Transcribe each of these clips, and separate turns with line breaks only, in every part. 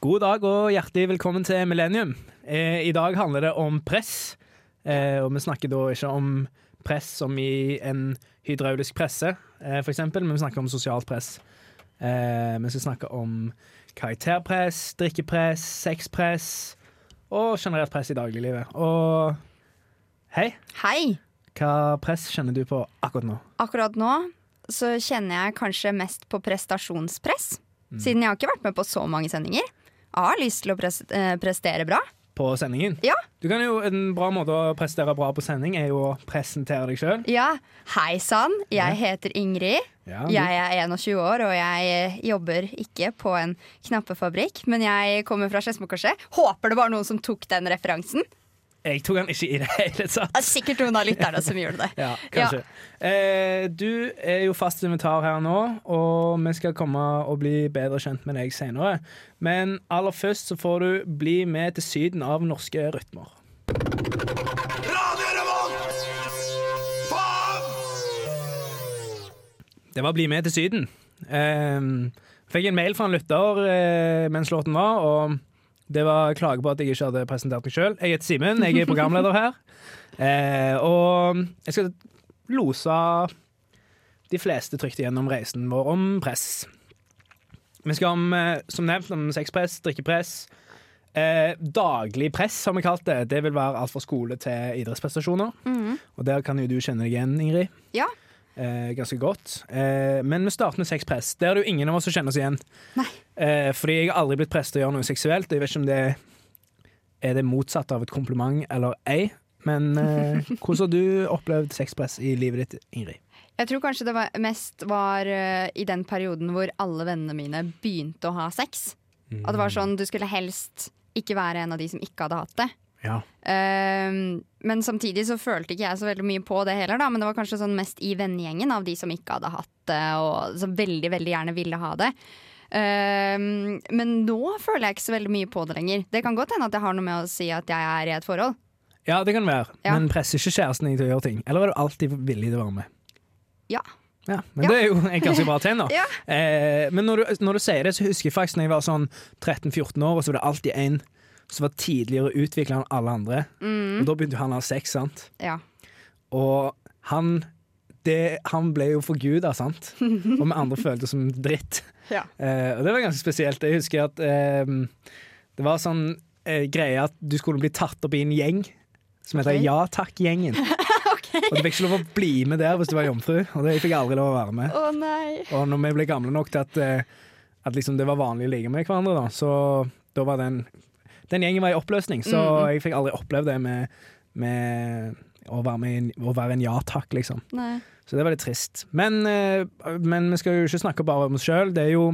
God dag og hjertelig velkommen til Millennium. Eh, I dag handler det om press, eh, og vi snakker da ikke om press som i en hydraulisk presse, eh, for eksempel, men vi snakker om sosialt press. Eh, vi skal snakke om karakterpress, drikkepress, sexpress og generelt press i dagliglivet. Og hei,
Hei!
hva press kjenner du på akkurat nå?
Akkurat nå så kjenner jeg kanskje mest på prestasjonspress.
Mm.
Siden jeg har ikke vært med på så mange sendinger. Jeg har lyst til å pres eh, prestere bra.
På sendingen?
Ja.
Du kan jo, En bra måte å prestere bra på sending er jo å presentere deg sjøl.
Ja, hei sann, jeg heter Ingrid.
Ja, du-
Jeg er 21 år, og jeg eh, jobber ikke på en knappefabrikk. Men jeg kommer fra Skedsmokorset. Håper det var noen som tok den referansen.
Jeg tok den ikke i det hele tatt.
Det er Sikkert noen av lytterne som gjorde det.
Ja, kanskje. Eh, du er jo fast invitar her nå, og vi skal komme og bli bedre kjent med deg senere. Men aller først så får du bli med til Syden av norske rytmer.
Radio Revolt! Faen!
Det var Bli med til Syden. Eh, fikk en mail fra en lytter eh, mens låten var, og det var klage på at jeg ikke hadde presentert meg sjøl. Jeg heter Simen, jeg er programleder her. Eh, og jeg skal lose de fleste trygt gjennom reisen vår om press. Vi skal om, eh, som nevnt om sexpress, drikkepress. Eh, daglig press, har vi kalt det. Det vil være alt fra skole til idrettsprestasjoner.
Mm.
Og der kan jo du kjenne deg igjen, Ingrid.
Ja.
Eh, ganske godt. Eh, men vi starter med sexpress. Der er det jo ingen av oss som kjenner oss igjen.
Nei.
Eh, fordi jeg har aldri blitt presset til å gjøre noe seksuelt. og Jeg vet ikke om det er det motsatte av et kompliment eller ei. Men eh, hvordan har du opplevd sexpress i livet ditt, Ingrid?
Jeg tror kanskje det var, mest var eh, i den perioden hvor alle vennene mine begynte å ha sex. At det var sånn, du skulle helst ikke være en av de som ikke hadde hatt det.
Ja.
Ehm, men samtidig så følte ikke jeg så veldig mye på det heller, da. Men det var kanskje sånn mest i vennegjengen av de som ikke hadde hatt det, og som veldig, veldig gjerne ville ha det. Ehm, men nå føler jeg ikke så veldig mye på det lenger. Det kan godt hende at det har noe med å si at jeg er i et forhold.
ja, det kan være.
Ja.
Men presser ikke kjæresten din til å gjøre ting? Eller er du alltid villig til å være med?
Ja.
Ja, men
Ja.
det er jo et ganske bra tegn, da.
Ja.
Eh, men når du, når du sier det, så husker jeg faktisk når jeg var sånn 13-14 år, og så var det alltid en som var tidligere utvikla enn alle andre. Og da begynte han å ha sex, sant?
Ja.
Og han det, Han ble jo forguda, sant? Og vi andre følte oss som dritt.
Ja.
Eh, og det var ganske spesielt. Jeg husker at eh, det var sånn eh, greie at du skulle bli tatt opp i en gjeng som heter
Ok.
Ja takk-gjengen. Og du fikk ikke lov å bli med der hvis du var jomfru, og det fikk jeg aldri lov å være med.
Å nei.
Og når vi ble gamle nok til at, eh, at liksom det var vanlig å ligge med hverandre, da, så da var den Den gjengen var i oppløsning, så jeg fikk aldri opplevd det med, med å være, med, i en- å være en ja takk, liksom.
nei.
Så det var litt trist. Men, eh, men vi skal jo ikke snakke bare om oss sjøl. Det er jo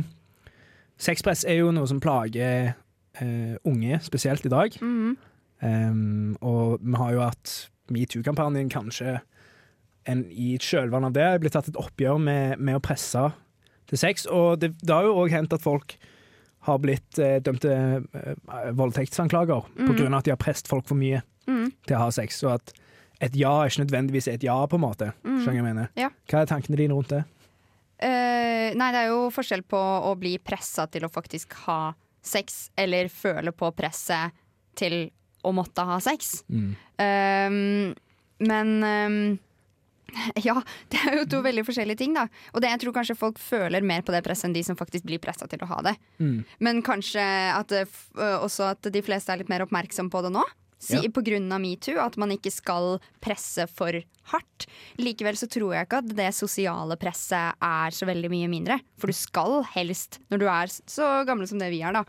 Sexpress er jo noe som plager eh, unge, spesielt i dag.
Mhm.
Ehm, og vi har jo hatt metoo-kampanjen kanskje en, i et kjølvann av det. Blitt tatt et oppgjør med, med å presse til sex. Og det, det har jo òg hendt at folk har blitt eh, dømt til eh, voldtektsanklager på
Mm.
grunn av at de har presset folk for mye
Mhm.
til å ha sex. Og at et ja er ikke nødvendigvis et ja, på en måte. Skjønner jeg mener.
Mm. Ja.
Hva er tankene dine rundt det?
Eh, nei, det er jo forskjell på å bli pressa til å faktisk ha sex, eller føle på presset til å måtte ha sex. Um, men um, ja, det er jo to veldig forskjellige ting, da. Og det, jeg tror kanskje folk føler mer på det presset enn de som faktisk blir pressa til å ha det.
Mm.
Men kanskje at, det f- øh, også at de fleste er litt mer oppmerksom på det nå. Si,
Ja.
På grunn av metoo, at man ikke skal presse for hardt. Likevel så tror jeg ikke at det sosiale presset er så veldig mye mindre. For du skal helst, når du er s- så gamle som det vi er, da,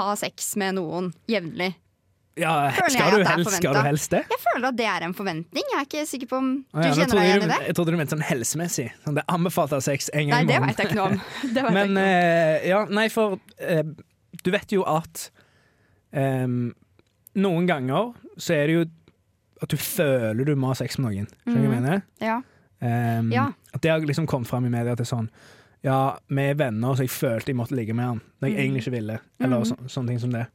ha sex med noen jevnlig.
Ja,
Føler jeg
skal
at
du,
det er
helst, skal du
forventet.
helst det?
Jeg føler at det er en forventning. Jeg er ikke sikker på om du
Å ja, nå
kjenner
trodde
deg
jeg
igjen
du-
i det.
Jeg trodde du mente sånn helsemessig. Sånn, det er anbefalt av sex en gang
Nei,
i
det
måneden.
veit jeg ikke noe om. Det vet
Men
jeg ikke noe om.
eh, ja, nei, for eh, du vet jo at eh, noen ganger så er det jo at du føler du må ha sex med noen. Skjønner du hva jeg mener?
Ja.
Eh,
Mm. Ja.
At det har liksom kommet fram i media at det er sånn Ja, vi er venner, så jeg følte jeg måtte ligge med han når jeg
Mm.
egentlig ikke ville. Eller så, sånne ting som det.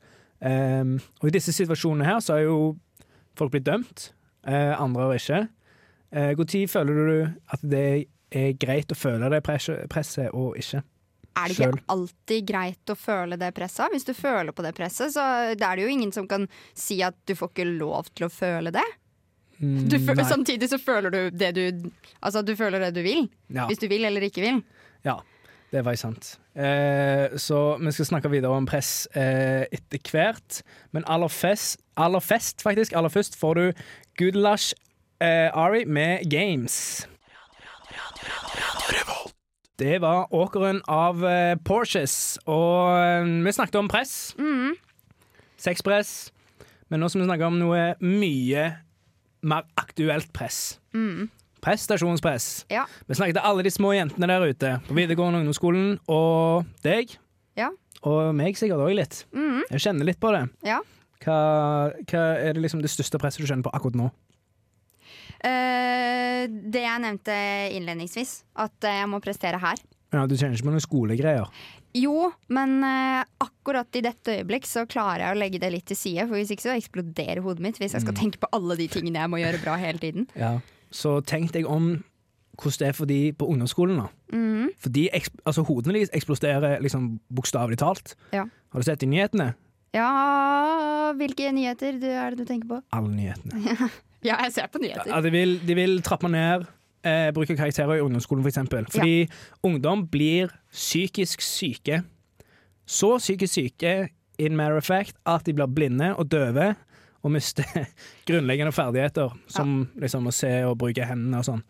Eh, og i disse situasjonene her så har jo folk blitt dømt, eh, andre har ikke. Eh, Uh, Når føler du at det er greit å føle det presset, presset og ikke?
er det
Selv.
ikke alltid greit å føle det presset? Hvis du føler på det presset, så da er det jo ingen som kan si at du får ikke lov til å føle det.
Mm,
Du sånn- føl
nei.
samtidig så føler du det du Altså, du føler det du vil.
ja.
Hvis du vil eller ikke vil.
Ja, det var jo sant. Eh, så vi skal snakke videre om press eh, etter hvert. Men aller fest, aller fest, faktisk, aller først får du Goodlash eh, Ari med Games. Det var åkeren av eh, Porsches, og eh, vi snakket om press. Sexpress. Men nå skal vi snakke om noe mye mer aktuelt press. Prestasjonspress.
Ja.
Vi snakket til alle de små jentene der ute på videregående ungdomsskolen, og deg.
Ja.
Og meg sikkert òg litt. Jeg kjenner litt på det.
Ja.
Hva, hva er det liksom det største presset du kjenner på akkurat nå?
Eh, det jeg nevnte innledningsvis, at eh, jeg må prestere her.
Ja, du kjenner ikke på noen skolegreier?
Jo, men eh, akkurat i dette øyeblikk så klarer jeg å legge det litt til side, for hvis ikke så eksploderer hodet mitt hvis jeg
Mm.
skal tenke på alle de tingene jeg må gjøre bra hele tiden.
Ja. Så tenk deg om hvordan det er for de på ungdomsskolen. da. For de, eks- altså, Hodene deres eksploderer liksom, bokstavelig talt.
Ja.
Har du sett i nyhetene?
Ja, hvilke nyheter du, er det du tenker på?
Alle nyhetene.
Ja, jeg ser på nyheter.
Ja, de, vil, de vil trappe ned eh, bruk av karakterer i ungdomsskolen, f.eks. eksempel Fordi ungdom blir psykisk syke. Så psykisk syke in matter of fact at de blir blinde og døve og mister grunnleggende ferdigheter, som liksom å se og bruke hendene og sånn.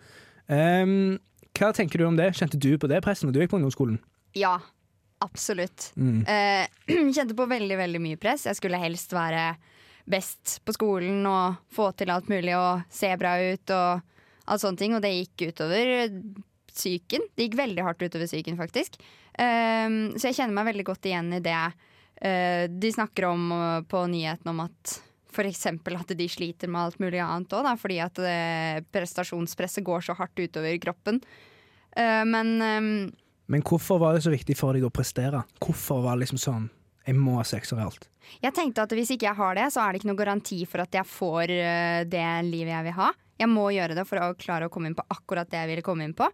Ehm, hva tenker du om det? Kjente du på det presset når du gikk på ungdomsskolen?
Ja, absolutt.
Mm.
Eh, kjente på veldig, veldig mye press. Jeg skulle helst være best på skolen og få til alt mulig og se bra ut og alt sånne ting. Og det gikk utover psyken. Det gikk veldig hardt utover psyken, faktisk. Eh, så jeg kjenner meg veldig godt igjen i det eh, de snakker om eh, på nyhetene om at F.eks. at de sliter med alt mulig annet òg, fordi at eh, prestasjonspresset går så hardt utover kroppen. Eh, men eh,
Men hvorfor var det så viktig for deg å prestere? Hvorfor var det liksom sånn Jeg må ha sekser i alt.
Jeg tenkte at hvis ikke jeg har det, så er det ikke noe garanti for at jeg får eh, det livet jeg vil ha. Jeg må gjøre det for å klare å komme inn på akkurat det jeg ville komme inn på.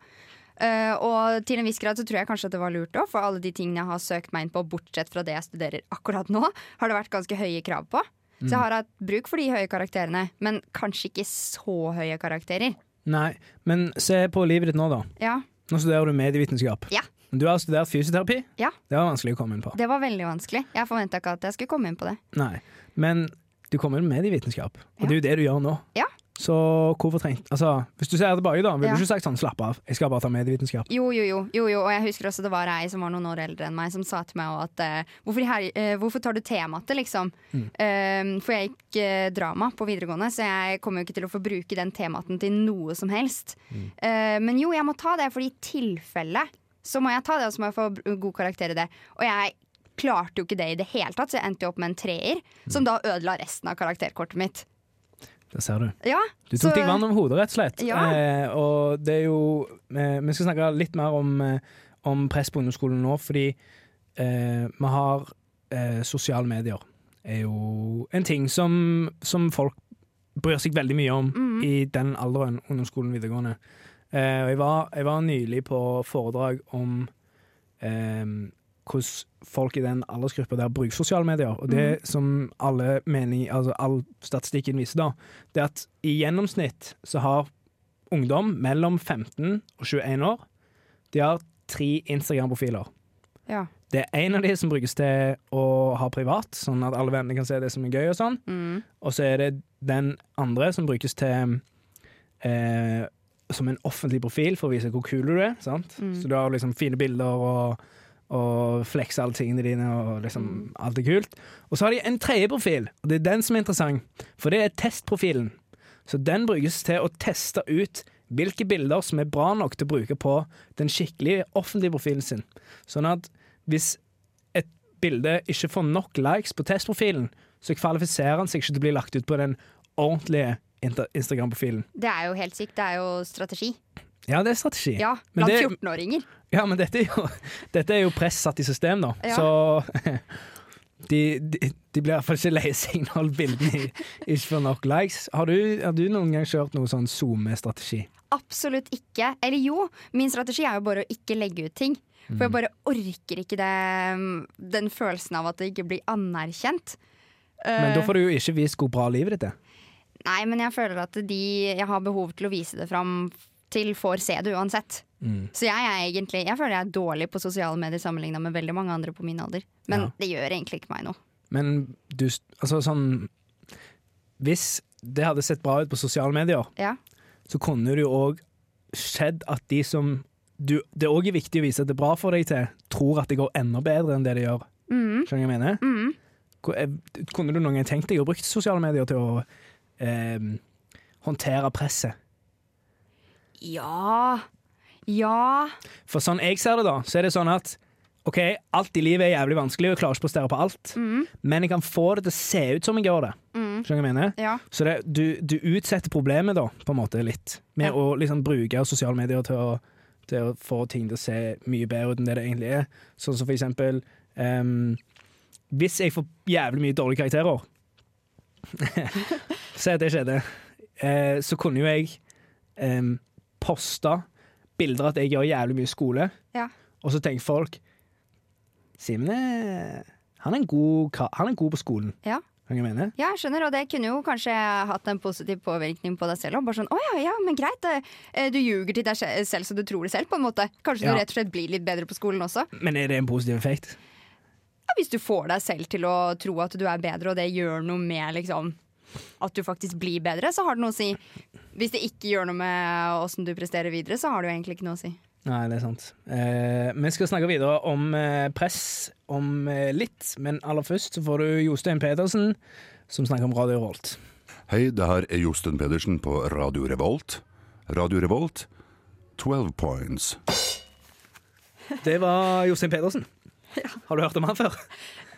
Eh, og til en viss grad så tror jeg kanskje at det var lurt òg, for alle de tingene jeg har søkt meg inn på, bortsett fra det jeg studerer akkurat nå, har det vært ganske høye krav på. Så jeg har hatt bruk for de høye karakterene, men kanskje ikke så høye karakterer.
Nei, men se på livet ditt nå, da.
Ja,
Nå studerer du medievitenskap.
Ja.
Men Du har studert fysioterapi.
Ja.
Det var vanskelig å komme inn på.
det var veldig vanskelig. Jeg forventa ikke at jeg skulle komme inn på det.
Nei. Men du kom inn med medievitenskap, og det er jo det du gjør nå.
Ja.
Så hvorfor trengt Altså, Hvis du ser tilbake, da, ville
Ja.
du ikke sagt sånn 'slapp av, jeg skal bare ta medievitenskap'?
Jo, jo, jo, jo, jo. Og jeg husker også det var ei som var noen år eldre enn meg, som sa til meg også at eh, hvorfor, i hel- eh, hvorfor tar du tematte, liksom?
Mm.
Eh, for jeg gikk eh, drama på videregående, så jeg kommer jo ikke til å få bruke den tematen til noe som helst.
Mm.
Eh, men jo, jeg må ta det, for i tilfelle så må jeg ta det, og så må jeg få br- god karakter i det. Og jeg klarte jo ikke det i det hele tatt, så jeg endte jo opp med en treer,
Mm.
som da ødela resten av karakterkortet mitt.
Det ser du.
Ja,
Du tok
så-
deg vann over hodet, rett og slett.
Ja.
Eh, og det er jo eh, Vi skal snakke litt mer om, eh, om press på ungdomsskolen nå, fordi eh, vi har eh, sosiale medier. er jo en ting som, som folk bryr seg veldig mye om
Mhm.
i den alderen, ungdomsskolen, videregående. Eh, og jeg var, jeg var nylig på foredrag om eh, hvordan folk i den aldersgruppa der bruker sosiale medier. Og det
Mhm.
som alle mening, altså all statistikken viser, da, det er at i gjennomsnitt så har ungdom mellom 15 og 21 år De har tre Instagram-profiler.
Ja.
Det er én av de som brukes til å ha privat, sånn at alle vennene kan se det som er gøy. Og sånn
Mm.
Og så er det den andre som brukes til eh, som en offentlig profil for å vise hvor kul du er. Sant? Så du har liksom fine bilder og, og flekser alle tingene dine, og liksom alt er kult. Og så har de en tredje profil, og det er den som er interessant, for det er testprofilen. Så den brukes til å teste ut hvilke bilder som er bra nok til å bruke på den skikkelige offentlige profilen sin. Sånn at hvis et bilde ikke får nok likes på testprofilen, så kvalifiserer han seg ikke til å bli lagt ut på den ordentlige inter- Instagram-profilen.
Det er jo helt sykt. Det er jo strategi.
Ja, det er strategi.
Ja,
men,
blant
det,
14-åringer.
ja, men dette, er jo, dette er jo press satt i system, da.
Ja.
Så de, de, de blir iallfall ikke lei seg når bildene ikke får nok likes. Har du, har du noen gang kjørt noe sånn SoMe-strategi?
absolutt ikke. Eller jo, min strategi er jo bare å ikke legge ut ting. For jeg bare orker ikke det, um, den følelsen av at det ikke blir anerkjent.
Men
Eh.
da får du jo ikke vist hvor bra livet ditt er.
Nei, men jeg føler at de jeg har behov til å vise det fram til, får se det uansett. Så jeg er egentlig Jeg føler jeg er dårlig på sosiale medier sammenligna med veldig mange andre på min alder. Men
Ja.
det gjør egentlig ikke meg noe.
Men du Altså sånn Hvis det hadde sett bra ut på sosiale medier,
Ja.
så kunne det jo òg skjedd at de som du, Det òg er viktig å vise at det er bra for deg til, tror at det går enda bedre enn det det gjør.
Mm,
Skjønner du hva jeg mener?
mm.
Hvor- eh, Kunne du noen gang tenkt deg å bruke sosiale medier til å eh, håndtere presset?
Ja. Ja.
For sånn jeg ser det, da, så er det sånn at OK, alt i livet er jævlig vanskelig, og jeg klarer ikke å prestere på alt,
Mm,
men jeg kan få det til å se ut som jeg gjør det.
mm.
Skjønner du hva jeg mener?
Ja.
Så det, du, du utsetter problemet da, på en måte litt, med
Ja.
å liksom bruke sosiale medier til å, til å få ting til å se mye bedre ut enn det det egentlig er. Sånn som for eksempel ehm, Hvis jeg får jævlig mye dårlige karakterer Si at det skjedde. eh, så kunne jo jeg um, poste bilder at jeg gjør jævlig mye skole,
Ja.
og så tenker folk Simen er, han er, en god, ka- han er god på skolen.
Ja.
Hva jeg mener?
Ja, jeg skjønner, og det kunne jo kanskje hatt en positiv påvirkning på deg selv. Og bare sånn, å ja, ja, men greit, det- eh, Du ljuger til deg se- selv så du tror det selv, på en måte. Kanskje
Ja.
du rett og slett blir litt bedre på skolen også.
Men er det en positiv effekt?
Ja, hvis du får deg selv til å tro at du er bedre, og det gjør noe med liksom, at du faktisk blir bedre, så har det noe å si. Hvis det ikke gjør noe med åssen du presterer videre, så har det jo egentlig ikke noe å si.
Nei, det er sant. Eh, vi skal snakke videre om eh, press om eh, litt, men aller først så får du Jostein Pedersen, som snakker om Radio Rolt.
Hei, det her er Josten Pedersen på Radio Revolt. Radio Revolt, 12 points.
Det var Jostein Pedersen. Har du hørt om han før?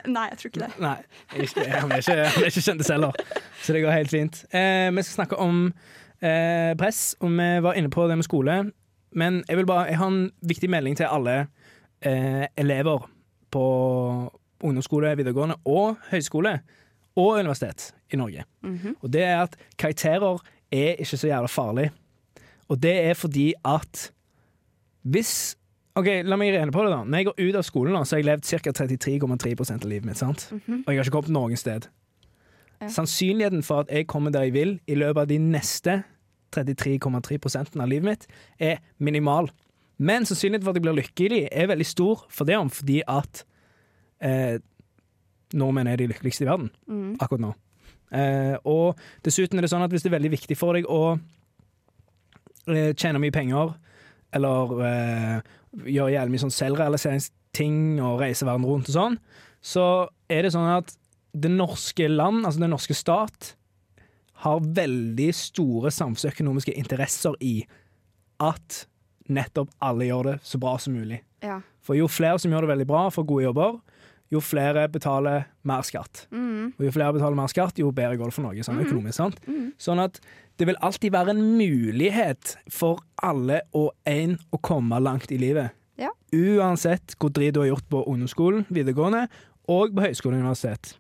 Nei, jeg tror ikke det.
Nei, ikke, han, er ikke, han er ikke kjendis heller, så det går helt fint. Eh, vi skal snakke om eh, press, og vi var inne på det med skole. Men jeg vil bare, jeg har en viktig melding til alle eh, elever på ungdomsskole, videregående og høyskole og universitet i Norge.
Mhm.
Og det er at karakterer er ikke så jævla farlig. Og det er fordi at hvis Ok, La meg rene på det. da Når jeg går ut av skolen, nå, så har jeg levd ca. 33,3 av livet mitt. sant? Og jeg har ikke kommet noen sted.
Ja.
Sannsynligheten for at jeg kommer der jeg vil i løpet av de neste 33,3 av livet mitt, er minimal. Men sannsynligheten for at jeg blir lykkelig, er veldig stor for det om fordi at eh, nordmenn er de lykkeligste i verden
Mm.
akkurat nå. Eh, og dessuten er det sånn at hvis det er veldig viktig for deg å eh, tjene mye penger, eller eh, gjøre jævlig mye sånn selvrealiseringsting og reise verden rundt og sånn, så er det sånn at det norske land, altså den norske stat, har veldig store samfunnsøkonomiske interesser i at nettopp alle gjør det så bra som mulig.
Ja.
For jo flere som gjør det veldig bra, får gode jobber, jo flere betaler mer skatt.
Mm.
Og jo flere betaler mer skatt, jo bedre går det for Norge sånn økonomisk. Sant? Sånn at det vil alltid være en mulighet for alle og en å komme langt i livet.
Ja.
Uansett hvor dritt du har gjort på ungdomsskolen, videregående og på høyskole og universitet.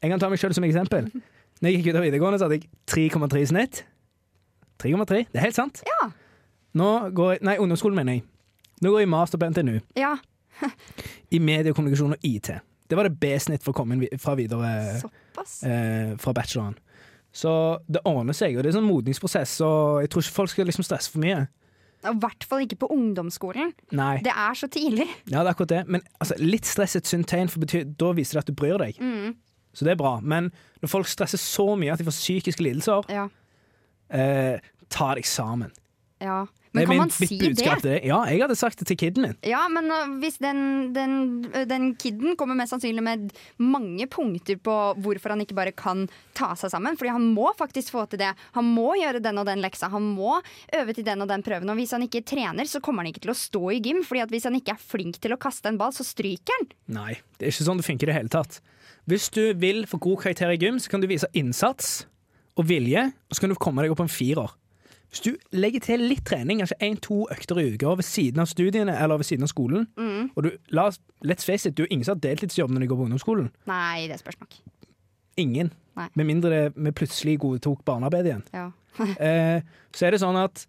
Jeg kan ta meg sjøl som eksempel. Når jeg gikk ut av videregående, så hadde jeg 3,3 i snitt. 3,3, det er helt sant.
Ja.
Nå går jeg, Nei, ungdomsskolen, mener jeg. Nå går jeg master på NTNU
ja.
i medie, kommunikasjon og IT. Det var det B-snitt for å komme inn vi- fra videre
Såpass.
eh, fra bacheloren. Så det ordner seg, og det er en sånn modningsprosess, og jeg tror ikke folk skal liksom stresse for mye.
Og I hvert fall ikke på ungdomsskolen.
Nei,
Det er så tidlig.
ja, det er akkurat det. Men altså, litt stress er et sunt tegn, for bety- da viser det at du bryr deg.
Mm.
Så det er bra. Men når folk stresser så mye at de får psykiske lidelser,
Ja.
eh, ta deg sammen.
ja.
Det er
Men kan
min-
man
mitt
si det?
budskap til deg. Ja, jeg hadde sagt det til kiden min.
Ja, men øh, hvis den, den, øh, den kiden kommer mest sannsynlig med mange punkter på hvorfor han ikke bare kan ta seg sammen. Fordi han må faktisk få til det. Han må gjøre den og den leksa. Han må øve til den og den prøven. Og hvis han ikke trener, så kommer han ikke til å stå i gym. Fordi at hvis han ikke er flink til å kaste en ball, så stryker han.
Nei, det er ikke sånn det funker i det hele tatt. Hvis du vil få god karakter i gym, så kan du vise innsats og vilje, og så kan du komme deg opp på en firer. Hvis du legger til litt trening, kanskje én-to økter i uka ved siden av studiene eller ved siden av skolen og du, la, oss- Let's face it, du er ingen som har deltidsjobb når de går på ungdomsskolen.
Nei, det spørs nok.
Ingen.
Nei.
Med mindre det- vi plutselig godtok barnearbeid igjen.
Ja.
Eh, så er det sånn at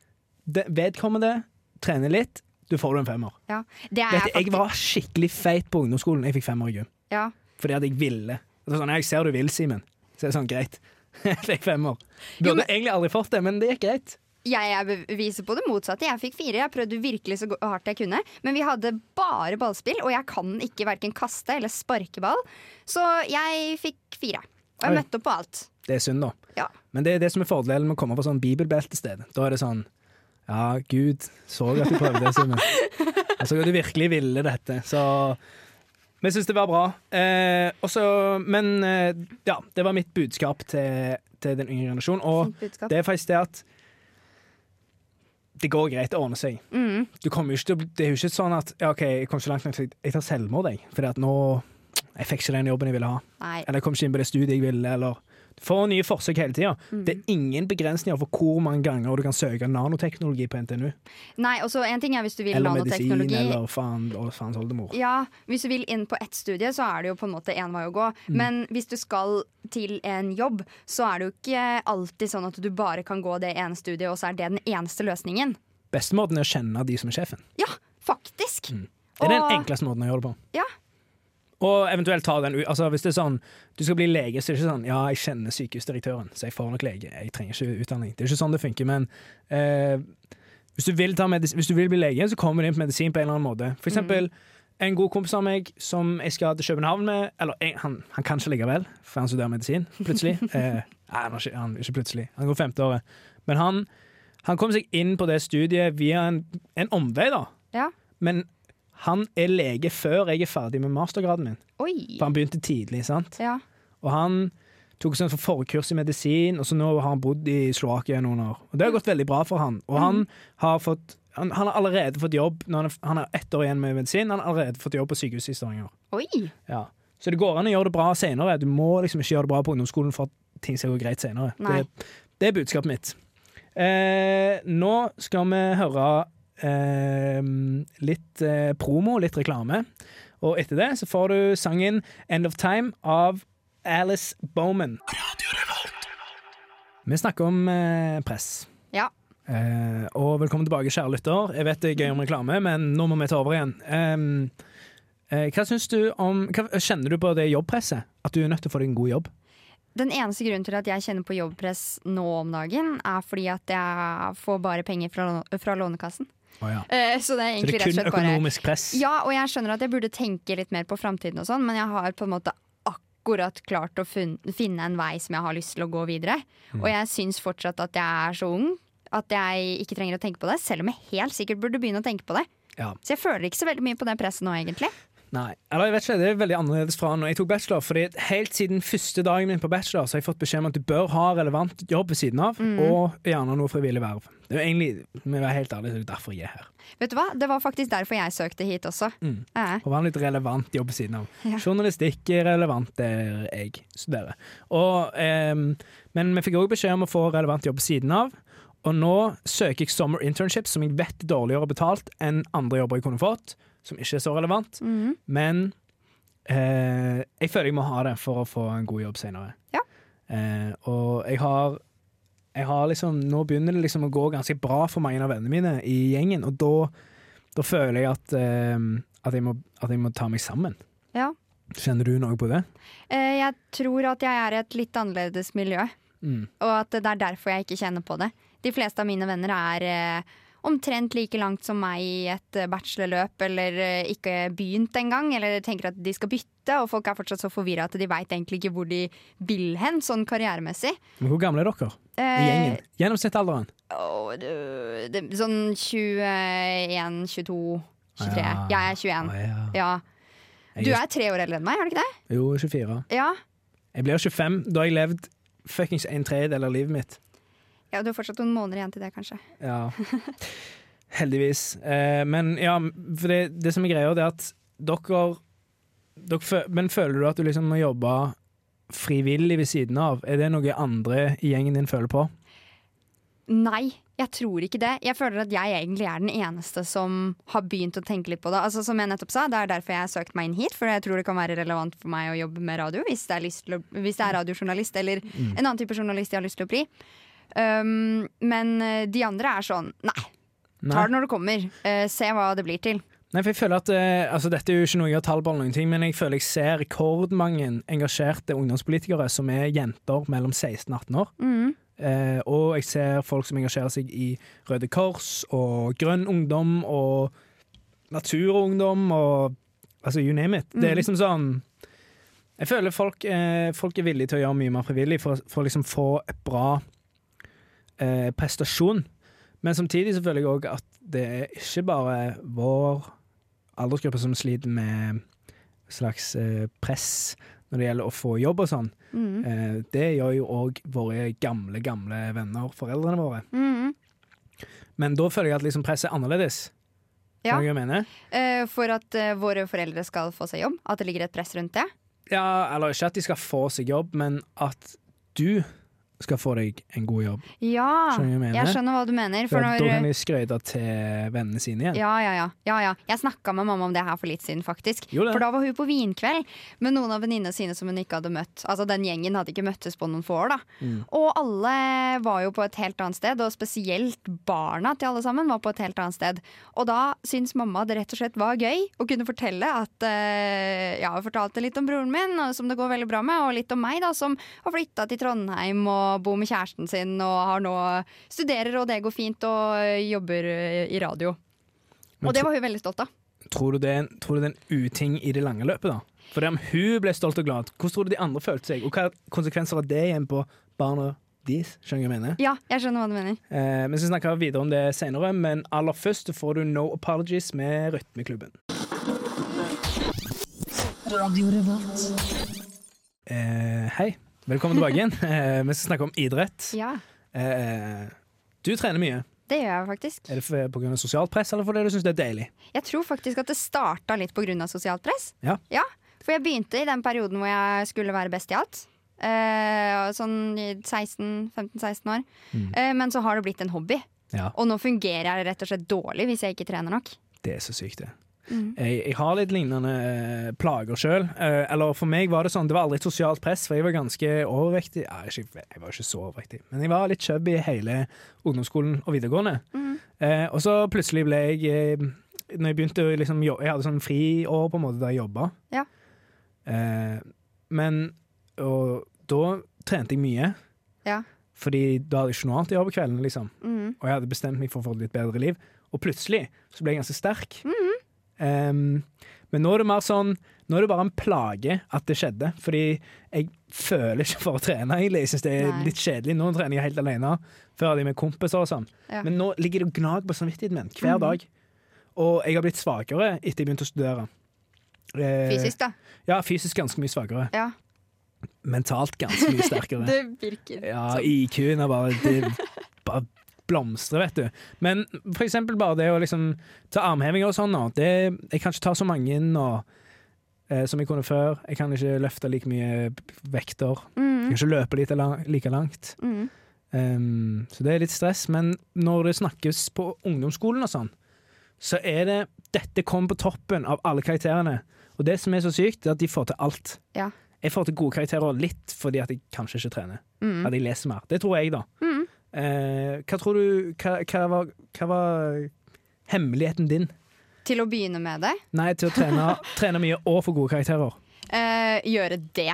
det, vedkommende trener litt, du får du en femmer.
Ja. Det er
Vet du, jeg
faktisk,
var skikkelig feit på ungdomsskolen. Jeg fikk femmer i gym.
ja.
Fordi at jeg ville. Det var sånn, jeg ser du vil, Simen. Så er det sånn, greit. Jeg fikk femmer.
Jo,
Burde
men-
egentlig aldri fått det, men det gikk greit.
Jeg er beviset på det motsatte. Jeg fikk fire. Jeg prøvde virkelig så go- hardt jeg kunne. Men vi hadde bare ballspill, og jeg kan ikke verken kaste eller sparke ball. Så jeg fikk fire. Og jeg
Oi.
møtte opp på alt.
Det er synd, da.
Ja.
Men det er det som er fordelen med å komme på sånn bibelbeltested. Da er det sånn Ja, Gud så at du prøvde, Simen. Jeg så at du virkelig ville dette. Så vi syns det var bra. Eh, også, men eh, ja, det var mitt budskap til, til den yngre generasjonen. Og
Fint budskap.
det er faktisk det at det går greit å ordne seg.
Mm.
Du kommer jo ikke til å bli- Det er jo ikke sånn at ja, OK, jeg kom ikke langt nok, så jeg- jeg tar selvmord, jeg. Fordi at nå Jeg fikk ikke den jobben jeg ville ha.
Nei.
Eller jeg kom ikke inn på det studiet jeg ville, eller Du får nye forsøk hele tida. Det er ingen begrensninger for hvor mange ganger du kan søke nanoteknologi på NTNU.
Nei, og så en ting er hvis du vil
Eller medisin,
nanoteknologi.
eller faen, og faens oldemor.
Ja, Hvis du vil inn på ett studie, så er det jo på en måte én vei å gå.
Mm.
Men hvis du skal til en jobb, så er det jo ikke alltid sånn at du bare kan gå det ene studiet, og så er det den eneste løsningen.
Beste måten er å kjenne de som er sjefen.
Ja, faktisk!
Det Mm. er
Og-
den enkleste måten å gjøre det på.
Ja.
Og eventuelt ta den ut. Altså, hvis det er sånn, du skal bli lege, så er det ikke sånn Ja, jeg kjenner sykehusdirektøren, så jeg får nok lege. Jeg trenger ikke utdanning. Det er ikke sånn det funker. Men eh, hvis, du vil ta medis hvis du vil bli lege, så kommer du inn på medisin på en eller annen måte. For eksempel en god kompis av meg som jeg skal til København med Eller jeg, han, han kan ikke likevel, for han studerer medisin, plutselig. eh, nei, han, har ikke, han ikke plutselig. Han går femte året. Men han, han kom seg inn på det studiet via en, en omvei, da.
Ja.
Men han er lege før jeg er ferdig med mastergraden min.
Oi.
For han begynte tidlig, sant?
Ja.
Og han tok sånn forkurs i medisin, og så nå har han bodd i Slovakia i noen år. Og det har gått veldig bra for han. Og han har fått han, han har allerede fått jobb når han, er- han har ett år igjen med medisin. Han har allerede fått jobb på sykehuset i Stavanger.
Oi.
Ja. Så det går an å gjøre det bra senere. Du må liksom ikke gjøre det bra på ungdomsskolen for at ting skal gå greit senere.
Nei.
Det, det er budskapet mitt. Eh, nå skal vi høre eh, litt eh, promo, litt reklame. Og etter det så får du sangen 'End of Time' av Alice Bowman. Vi snakker om eh, press.
Ja.
Eh, og velkommen tilbake, kjære lytter. Jeg vet det er gøy om reklame, men nå må vi ta over igjen. Em, eh, hva synes du om hva, Kjenner du på det jobbpresset? At du er nødt til å få deg en god jobb?
Den eneste grunnen til at jeg kjenner på jobbpress nå om dagen, er fordi at jeg får bare penger fra, lå- fra Lånekassen. Eh, så det er
Så det
egentlig
er
rett og
kun
slett bare
økonomisk press?
Ja, og jeg skjønner at jeg burde tenke litt mer på framtiden og sånn, men jeg har på en måte akkurat klart å fun finne en vei som jeg har lyst til å gå videre. Og jeg syns fortsatt at jeg er så ung at jeg ikke trenger å tenke på det, selv om jeg helt sikkert burde begynne å tenke på det.
Ja.
Så jeg føler ikke så veldig mye på det presset nå, egentlig.
Nei. Eller jeg vet ikke, det er veldig annerledes fra når jeg tok bachelor. Fordi helt siden første dagen min på bachelor Så har jeg fått beskjed om at du bør ha relevant jobb ved siden av,
Mm.
og gjerne noe frivillig verv. Det er jo egentlig, med å være helt ærlig, så er det derfor jeg er her.
Vet du hva? Det var faktisk derfor jeg søkte hit også.
Mm.
Eh.
Og være en litt relevant jobb ved siden av.
Ja.
Journalistikk er relevant der jeg studerer. Og, ehm, men vi fikk òg beskjed om å få relevant jobb ved siden av. Og nå søker jeg summer internship, som jeg vet er dårligere betalt enn andre jobber jeg kunne fått, som ikke er så relevant.
Mm.
Men eh, jeg føler jeg må ha det for å få en god jobb senere.
Ja.
Eh, og jeg har jeg har liksom, nå begynner det liksom å gå ganske bra for mange av vennene mine i gjengen, og da, da føler jeg at, ehm, at, jeg må, at jeg må ta meg sammen.
Ja.
Kjenner du noe på det?
Eh, Jeg tror at jeg er i et litt annerledes miljø,
Mm.
og at det er derfor jeg ikke kjenner på det. De fleste av mine venner er eh, omtrent like langt som meg i et eh, bachelorløp, eller eh, ikke begynt engang, eller tenker at de skal bytte, og folk er fortsatt så forvirra at de veit egentlig ikke hvor de vil hen, sånn karrieremessig. Eh,
Men hvor gamle er dere i gjengen? Gjennomsnittsalderen?
Å, det, det, sånn 21, 22, 23.
Ja.
Jeg er 21.
Ah, ja.
Ja. Du
Jeg
er tre år eldre enn meg, er du ikke det?
Jo, 24.
Ja.
Jeg blir 25. Da har jeg levd fuckings en tredjedel av livet mitt.
ja, du har fortsatt noen måneder igjen til det, kanskje.
Ja. Heldigvis. Eh, men ja, for det, det som er greia, det er at dere, dere fø- Men føler du at du liksom må jobbe frivillig ved siden av? Er det noe andre i gjengen din føler på?
Nei, jeg tror ikke det. Jeg føler at jeg egentlig er den eneste som har begynt å tenke litt på det. Altså, som jeg nettopp sa, Det er derfor jeg har søkt meg inn hit, for jeg tror det kan være relevant for meg å
Mm.
jobbe med radio hvis jeg er, lyst til å, hvis jeg er radiojournalist eller en annen type journalist jeg har lyst til å bli. Um, men eh, de andre er sånn Nei, ta
Nei.
det når det kommer. Eh, se hva det blir til.
Nei, for jeg føler at eh, altså, Dette er jo ikke noe jeg har tall på, eller noen ting, men jeg føler jeg ser rekordmange engasjerte ungdomspolitikere som er jenter mellom 16 og 18 år.
Mm,
Eh, og jeg ser folk som engasjerer seg i Røde Kors og Grønn Ungdom og Naturungdom og altså you name it. Det er liksom sånn Jeg føler folk, eh, folk er villige til å gjøre mye mer frivillig for, for å liksom få et bra eh, prestasjon. Men samtidig så føler jeg òg at det er ikke bare vår aldersgruppe som sliter med slags eh, press når det gjelder å få jobb og sånn.
Mm.
Eh, det gjør jo òg våre gamle, gamle venner, foreldrene våre.
Mm.
Men da føler jeg at liksom presset er annerledes.
Ja.
Skjønner du hva jeg mener?
Eh, for at eh, våre foreldre skal få seg jobb. At det ligger et press rundt det.
Ja, eller ikke at de skal få seg jobb, men at du skal få deg en god jobb.
Ja,
Skjønner du hva jeg mener?
jeg skjønner hva du mener. For
For da kan
når, eh,
de skryte til vennene sine igjen.
ja, ja, ja, ja, ja. Jeg snakka med mamma om det her for litt siden, faktisk.
Jo da.
For da var hun på vinkveld med noen av venninnene sine som hun ikke hadde møtt. Altså Den gjengen hadde ikke møttes på noen få år. da
Mm.
Og alle var jo på et helt annet sted, og spesielt barna til alle sammen var på et helt annet sted. Og da syntes mamma det rett og slett var gøy å kunne fortelle at eh, Ja, hun fortalte litt om broren min, og som det går veldig bra med, og litt om meg, da, som har flytta til Trondheim og bor med kjæresten sin og har nå studerer, og det går fint, og eh, jobber eh, i radio.
Men
Og det var hun veldig stolt av.
Tror du, det er en, tror du det er en uting i det lange løpet, da? For om hun ble stolt og glad, hvordan tror du de andre følte seg? Og hva er konsekvenser av det igjen på barna deres? Skjønner du hva jeg mener?
Ja, jeg skjønner hva du mener.
Eh, vi skal snakke videre om det senere, men aller først så får du No Apologies med Rytmeklubben. Eh, hei, velkommen tilbake igjen. Eh, vi skal snakke om idrett.
Ja,
Eh, du trener mye.
det gjør jeg faktisk.
Er det for- på grunn av sosialt press, eller fordi du syns det er deilig?
Jeg tror faktisk at det starta litt pga. sosialt press.
Ja.
For jeg begynte i den perioden hvor jeg skulle være best i alt. Eh, sånn i 16 15-16 år.
Mm.
Eh, men så har det blitt en hobby.
Ja.
Og nå fungerer jeg rett og slett dårlig hvis jeg ikke trener nok.
Det er så sykt, det.
Mm.
Jeg, jeg har litt lignende eh, plager sjøl. eller for meg var det sånn, det var aldri et sosialt press, for jeg var ganske overvektig. Ja, ikke, jeg var ikke så overvektig, men jeg var litt chubby hele ungdomsskolen og videregående.
Mm.
Eh, og så plutselig ble jeg eh, Når jeg begynte å liksom jobbe Jeg hadde sånn friår på en måte da jeg jobba.
Ja.
Eh, men Og da trente jeg mye.
Ja.
Fordi da hadde jeg ikke noe annet å gjøre på kvelden, liksom.
Mm.
Og jeg hadde bestemt meg for å få et litt bedre liv. Og plutselig så ble jeg ganske sterk.
Mhm.
Em, men nå er det mer sånn Nå er det bare en plage at det skjedde. Fordi jeg føler ikke for å trene, egentlig. Jeg synes det er
Nei.
litt kjedelig. Nå trener jeg helt alene. Før hadde jeg med kompiser og sånn.
Ja. Mhm.
Men nå ligger det og gnag på samvittigheten min hver dag. Og jeg har blitt svakere etter jeg begynte å studere. Eh,
Fysisk, da.
Ja, fysisk ganske mye svakere.
Ja.
Mentalt ganske mye sterkere.
Det virker.
Ja, IQ-en er bare Det bare blomstrer, vet du. Men for eksempel bare det å liksom ta armhevinger og sånn nå. Det, jeg kan ikke ta så mange nå eh, som jeg kunne før. Jeg kan ikke løfte like mye vekter. Jeg kan ikke løpe like, lang, like langt.
Mm.
Um, så det er litt stress. Men når det snakkes på ungdomsskolen og sånn, så er det Dette kommer på toppen av alle karakterene. Og det som er så sykt, er at de får til alt.
Ja.
Jeg får til gode karakterer litt fordi at jeg kanskje ikke trener.
Mm.
At jeg leser mer. Det tror jeg, da.
Mm.
Eh, hva tror du hva, hva, var, hva var hemmeligheten din?
Til å begynne med det.
Nei, til å trene, trene mye og få gode karakterer.
Eh, gjøre det.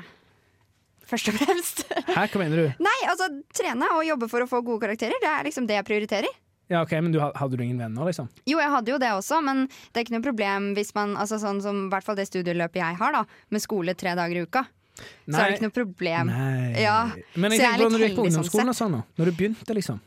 Først og fremst.
Hæ, hva mener du?
Nei, altså trene og jobbe for å få gode karakterer. Det er liksom det jeg prioriterer.
Ja, ok, men du, ha- Hadde du ingen venner, liksom?
Jo, jeg hadde jo det også, men det er ikke noe problem hvis man altså sånn som, i hvert fall det studieløpet jeg har, da, med skole tre dager i uka. Så er det ikke noe problem. Nei.
Nei.
Ja,
Men
så
jeg
jeg
tenker
er
på
litt
når du gikk på
heldig sånn
ungdomsskolen og sånn, nå. når du begynte, liksom.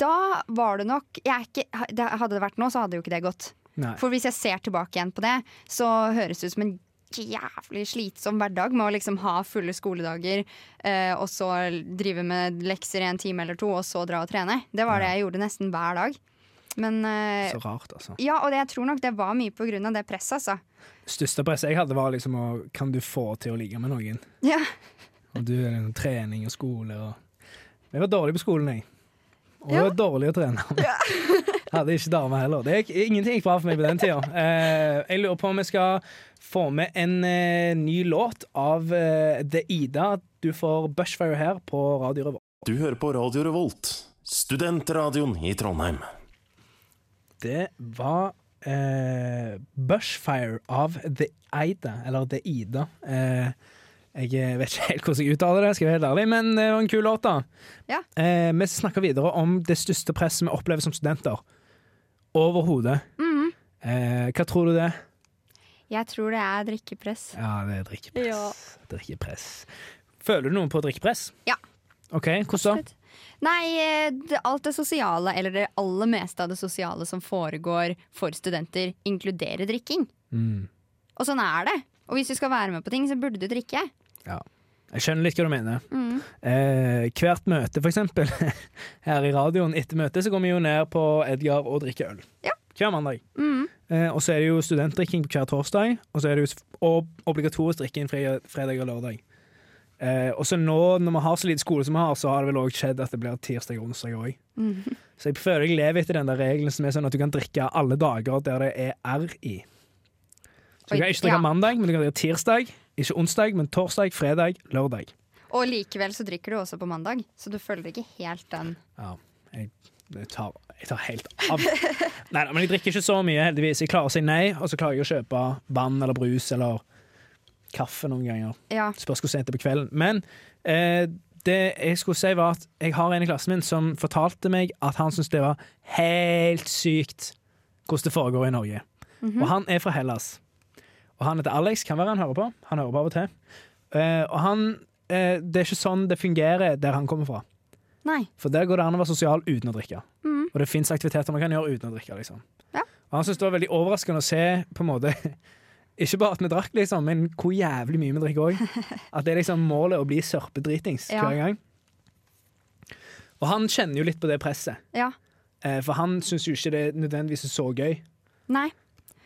da var det nok jeg er ikke, ha- det- Hadde det vært nå, så hadde jo ikke det gått.
Nei.
For hvis jeg ser tilbake igjen på det, så høres det ut som en jævlig slitsom hverdag med å liksom ha fulle skoledager, eh, og så drive med lekser i en time eller to, og så dra og trene. Det var det jeg gjorde nesten hver dag. Men eh,
Så rart, altså.
ja, og det, jeg tror nok det var mye på grunn av det presset, altså.
Største presset jeg hadde, var liksom å Kan du få til å ligge med noen?
Ja.
Og du er liksom trening og skole og Jeg var dårlig på skolen, jeg. Og
Ja.
jeg var dårlig å trene. Hadde ikke dame heller. Det gikk, ingenting gikk bra for meg på den tida. Eh, jeg lurer på om vi skal få med en eh, ny låt av eh, The Ida. Du får Bushfire her på Radio Revolt.
Du hører på Radio Revolt, studentradioen i Trondheim.
Det var eh, Bushfire av The Ida, eller The Ida. Eh, jeg vet ikke helt hvordan jeg uttaler det, skal jeg være helt ærlig, men eh, det var en kul låt, da.
Ja.
Eh, vi snakker videre om det største presset vi opplever som studenter. Overhodet.
Mm.
eh, hva tror du det er?
Jeg tror det er drikkepress.
Ja, det er drikkepress.
Ja.
drikkepress. Føler du noe på drikkepress?
Ja.
OK, hvordan da?
Absolutt. Nei, eh, det, alt det sosiale, eller det aller meste av det sosiale som foregår for studenter, inkluderer drikking.
Mm.
Og sånn er det. Og hvis du skal være med på ting, så burde du drikke. Mm.
Ja. Jeg skjønner litt hva du mener. Eh, hvert møte, for eksempel, her i radioen, etter møtet, så går vi jo ned på Edgar og drikker øl.
Ja.
Hver mandag.
Mm.
Eh, og så er det jo studentdrikking på hver torsdag, og så er det jo s- og obligatorisk drikking fre- fredag og lørdag. Eh, og så nå, når vi har så lite skole som vi har, så har det vel òg skjedd at det blir tirsdag og onsdag òg.
Mhm.
Så jeg føler jeg lever etter den der regelen som er sånn at du kan drikke alle dager der det er R i. Så du
Oi,
kan ikke drikke
ja.
mandag, men du kan drikke tirsdag. Ikke onsdag, men torsdag, fredag, lørdag.
Og likevel så drikker du også på mandag, så du følger ikke helt den.
Ja, jeg, jeg, tar, jeg tar helt av. Nei, men jeg drikker ikke så mye, heldigvis. Jeg klarer å si nei, og så klarer jeg å kjøpe vann eller brus eller kaffe noen ganger.
Ja.
Spørs hvor sent det er på kvelden. Men eh, det jeg skulle si, var at jeg har en i klassen min som fortalte meg at han syntes det var helt sykt hvordan det foregår i Norge. Og han er fra Hellas. Og han heter Alex, kan være han hører på. Han hører på av og til. Eh, og han eh, Det er ikke sånn det fungerer der han kommer fra.
Nei.
For der går det an å være sosial uten å drikke. Og det fins aktiviteter man kan gjøre uten å drikke. liksom.
Mm. Ja.
Og han syntes det var veldig overraskende å se på en måte, ikke bare at vi drakk, liksom, men hvor jævlig mye vi drikker òg. At det er liksom målet å bli sørpedritings
Ja.
hver gang. Og han kjenner jo litt på det presset,
Ja.
eh, for han syns jo ikke det nødvendigvis er så gøy.
Nei.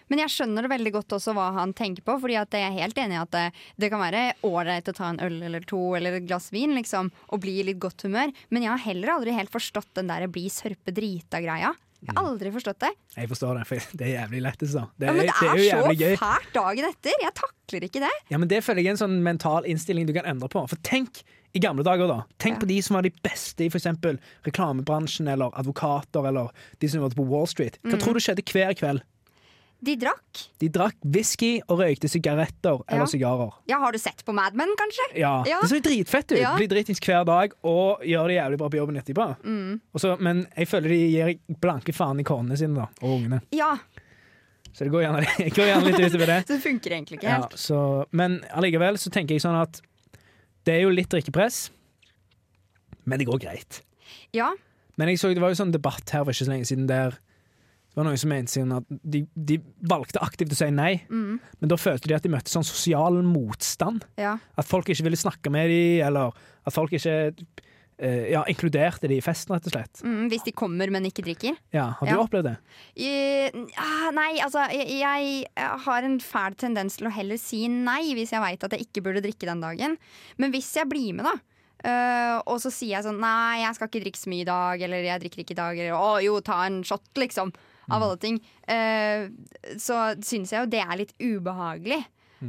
Men jeg skjønner det veldig godt også hva han tenker på, fordi at jeg er helt enig i at det, det kan være ålreit å ta en øl eller to eller et glass vin liksom, og bli i litt godt humør, men jeg har heller aldri helt forstått den der bli sørpe drita-greia. Jeg har aldri forstått det.
Jeg forstår det, for det er jævlig lættis, da. Mm. Det,
Ja, men det
det
er,
jo jævlig
så
gøy.
fælt dagen etter! Jeg takler ikke det.
Ja, men Det føler jeg er en sånn mental innstilling du kan endre på. For tenk i gamle dager, da. Tenk
Ja.
på de som var de beste i for eksempel reklamebransjen eller advokater eller de som jobbet på Wall Street.
Mm.
Hva tror du skjedde hver kveld?
De drakk.
De drakk whisky og røykte sigaretter
Ja.
eller sigarer.
Ja, har du sett på Mad Men, kanskje?
Ja.
Ja.
Det ser jo dritfett ut.
Ja.
Blir dritings hver dag og gjør det jævlig bra på jobben etterpå.
Mm.
Og så- men jeg føler de gir blanke faen i kornene sine da, og ungene.
Ja,
Så det går gjerne, det går gjerne litt utover det.
så det funker egentlig ikke
Ja,
helt.
så, men allikevel så tenker jeg sånn at det er jo litt drikkepress, men det går greit.
Ja,
Men jeg så det var jo sånn debatt her for ikke så lenge siden der det var noen som mente siden at de, de valgte aktivt å si nei,
Mm.
men da følte de at de møtte sånn sosial motstand.
ja,
At folk ikke ville snakke med dem, eller at folk ikke eh, ja, inkluderte dem i festen, rett og slett.
mm, Hvis de kommer, men ikke drikker.
Ja, Har du
Ja.
opplevd det?
Eh, ah, nei, altså jeg, jeg har en fæl tendens til å heller si nei hvis jeg veit at jeg ikke burde drikke den dagen. Men hvis jeg blir med, da. eh, og så sier jeg sånn Nei, jeg skal ikke drikke så mye i dag. Eller jeg drikker ikke i dag. Eller å jo, ta en shot, liksom. Av alle ting. Eh, så syns jeg jo det er litt ubehagelig.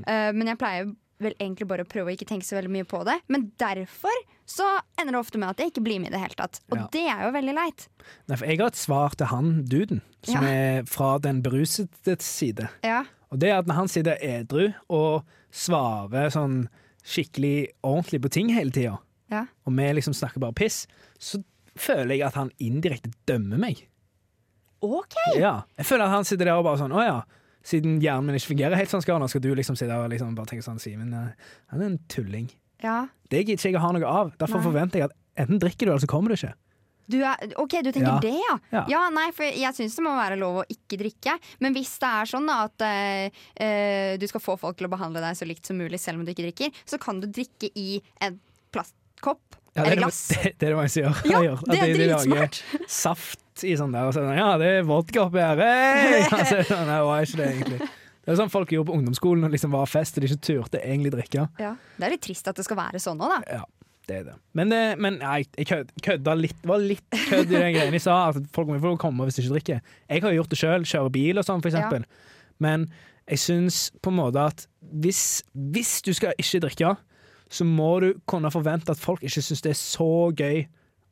Eh, men jeg pleier vel egentlig bare å prøve å ikke tenke så veldig mye på det. Men derfor så ender det ofte med at jeg ikke blir med i det hele tatt. Og
Ja.
det er jo veldig leit.
Nei, for jeg har et svar til han duden, som
Ja.
er fra den berusedes side.
Ja.
Og det er at når han sitter edru og svarer sånn skikkelig ordentlig på ting hele tida,
ja.
og vi liksom snakker bare piss, så føler jeg at han indirekte dømmer meg.
OK!
Ja. Jeg føler at han sitter der og bare sånn Å ja, siden hjernen min ikke fungerer helt sånn skal han, skal du liksom sitte der og liksom bare tenke sånn Simen, eh, han er en tulling.
Ja.
Det gidder ikke jeg å ha noe av. Derfor
Nei.
forventer jeg at enten drikker du, eller så kommer du ikke.
Du er, ok, du tenker
Ja.
det, ja.
Ja.
ja. Nei, for jeg syns det må være lov å ikke drikke. Men hvis det er sånn da, at eh, eh, du skal få folk til å behandle deg så likt som mulig selv om du ikke drikker, så kan du drikke i en plastkopp
Ja, det, er
eller
det-
glass.
Det, det er det mange som gjør.
Ja,
Jeg gjør. At
det er
de- de lager
dritsmart.
Saft i sånn der. Og så, er det sånn, ja, det er vodka oppi her. Hey! Altså, sånn, nei, det var ikke det, egentlig. Det er sånn folk gjorde på ungdomsskolen og liksom var fest og de ikke turte egentlig drikke.
Ja. Det er litt trist at det skal være sånn òg, da.
Ja, det er det. Men, det, men nei, jeg kød, kødda litt. Var litt kødd i den greien jeg sa, at folk må få komme hvis de ikke drikker. Jeg har jo gjort det sjøl, kjører bil og sånn, for
Ja.
eksempel. Men jeg syns på en måte at hvis, hvis du skal ikke drikke, så må du kunne forvente at folk ikke syns det er så gøy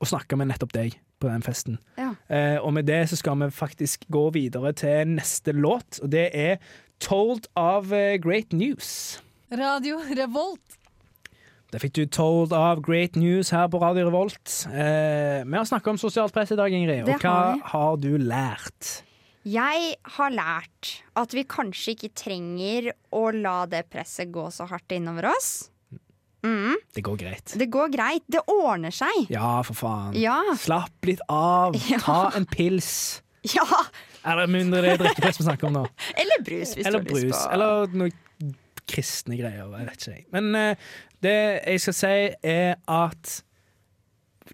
og snakke med nettopp deg på den festen.
Ja.
Eh, og med det så skal vi faktisk gå videre til neste låt, og det er Told of eh, Great News.
Radio Revolt.
Der fikk du Told of Great News her på Radio Revolt. Eh, vi har snakka om sosialt press i dag, Ingrid,
Det
og hva
har vi.
har du lært?
Jeg har lært at vi kanskje ikke trenger å la det presset gå så hardt innover oss. Mm.
Det går greit.
Det går greit. Det ordner seg.
Ja, for faen.
Ja.
Slapp litt av.
Ja.
Ta en pils.
Ja!
Eller mindre det er drikkepress vi snakker om nå.
Eller brus, hvis
Eller
du har
brus.
lyst på.
Eller noe kristne greier. Jeg vet ikke. jeg. Men eh, det jeg skal si, er at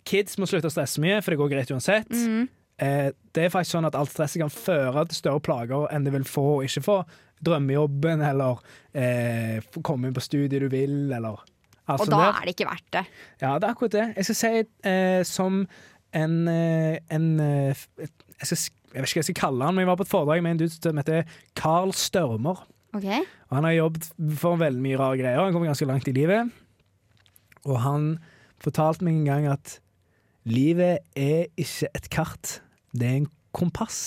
kids må slutte å stresse mye, for det går greit uansett.
Mm.
Eh, det er faktisk sånn at alt stresset kan føre til større plager enn det vil få og ikke få. Drømmejobben, eller eh, få komme inn på studiet du vil, eller alt
Og
sånt
da
der.
er det ikke verdt det.
Ja, det er akkurat det. Jeg skal si eh, som en, eh, en eh, f- jeg, skal, sk- jeg vet ikke hva jeg skal kalle han, men jeg var på et foredrag med en dude som heter Carl Størmer.
Ok?
Og han har jobbet for veldig mye rare greier. Han kom ganske langt i livet. Og han fortalte meg en gang at livet er ikke et kart, det er en kompass.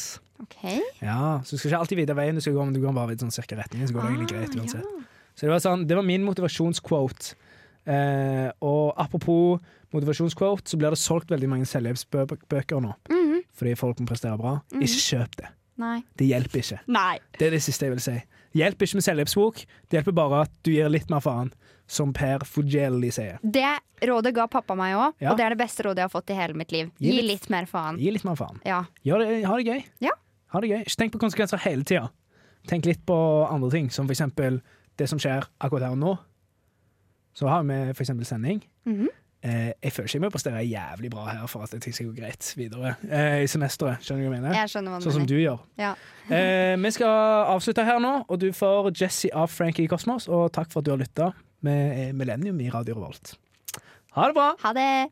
Ok.
Ja, Så du skal ikke alltid vite veien du skal gå, men du kan bare vite sånn cirka retningen. Så går det egentlig greit
Ah,
uansett. Så det var, sånn, det var min motivasjonsquote. Eh, og apropos motivasjonsquote, så blir det solgt veldig mange selvhjelpsbøker nå.
Ja. Mhm.
Fordi folk må prestere bra. Ikke kjøp det.
Nei.
Det hjelper ikke.
Nei.
Det er det siste jeg vil si. Hjelp ikke med selvhjelpsbok, det hjelper bare at du gir litt mer faen, som Per Fugelli sier.
Det rådet ga pappa meg òg,
Ja.
og det er det beste rådet jeg har fått i hele mitt liv.
Gi
Gi
litt-
litt mer faen.
Gi litt mer faen.
Ja.
Gjør det, ha det gøy.
Ja.
Ha det gøy. Ikke tenk på konsekvenser hele tida. Tenk litt på andre ting, som for eksempel det som skjer akkurat her og nå. Så har vi for eksempel sending.
Mhm.
eh, jeg føler ikke jeg må prestere jævlig bra her for at ting skal gå greit videre eh, i semesteret. Skjønner du hva jeg mener?
Jeg skjønner hva du
Sånn som
mener.
du gjør.
Ja.
Eh, vi skal avslutte her nå, og du får Jesse av Frankie Cosmos. Og takk for at du har lytta med Millennium i Radio Revolt. Ha det bra!
Ha det!